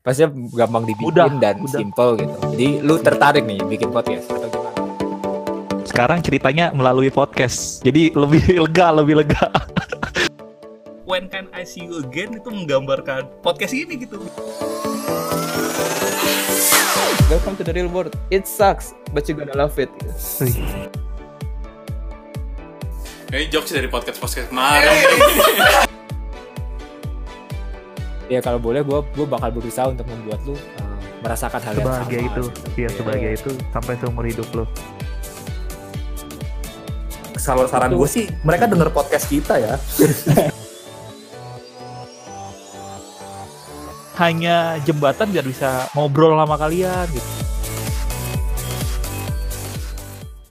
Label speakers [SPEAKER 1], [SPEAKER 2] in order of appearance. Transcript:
[SPEAKER 1] pasti gampang dibikin
[SPEAKER 2] Udah,
[SPEAKER 1] dan
[SPEAKER 2] udah.
[SPEAKER 1] simple gitu. Jadi lu tertarik nih bikin podcast atau gimana?
[SPEAKER 2] Sekarang ceritanya melalui podcast. Jadi lebih lega, lebih lega.
[SPEAKER 3] When Can I See You Again itu menggambarkan podcast ini gitu.
[SPEAKER 4] Welcome to the real world. It sucks, but you gonna love it.
[SPEAKER 5] Ini jokes dari podcast podcast kemarin.
[SPEAKER 1] Ya kalau boleh gue gue bakal berusaha untuk membuat lu uh, merasakan hal yang sama.
[SPEAKER 6] sebahagia itu
[SPEAKER 1] gitu.
[SPEAKER 6] iya sebahagia itu sampai seumur hidup lo
[SPEAKER 2] Kalau saran
[SPEAKER 1] gua
[SPEAKER 2] sih, mereka denger podcast kita ya. Hanya jembatan biar bisa ngobrol sama kalian gitu.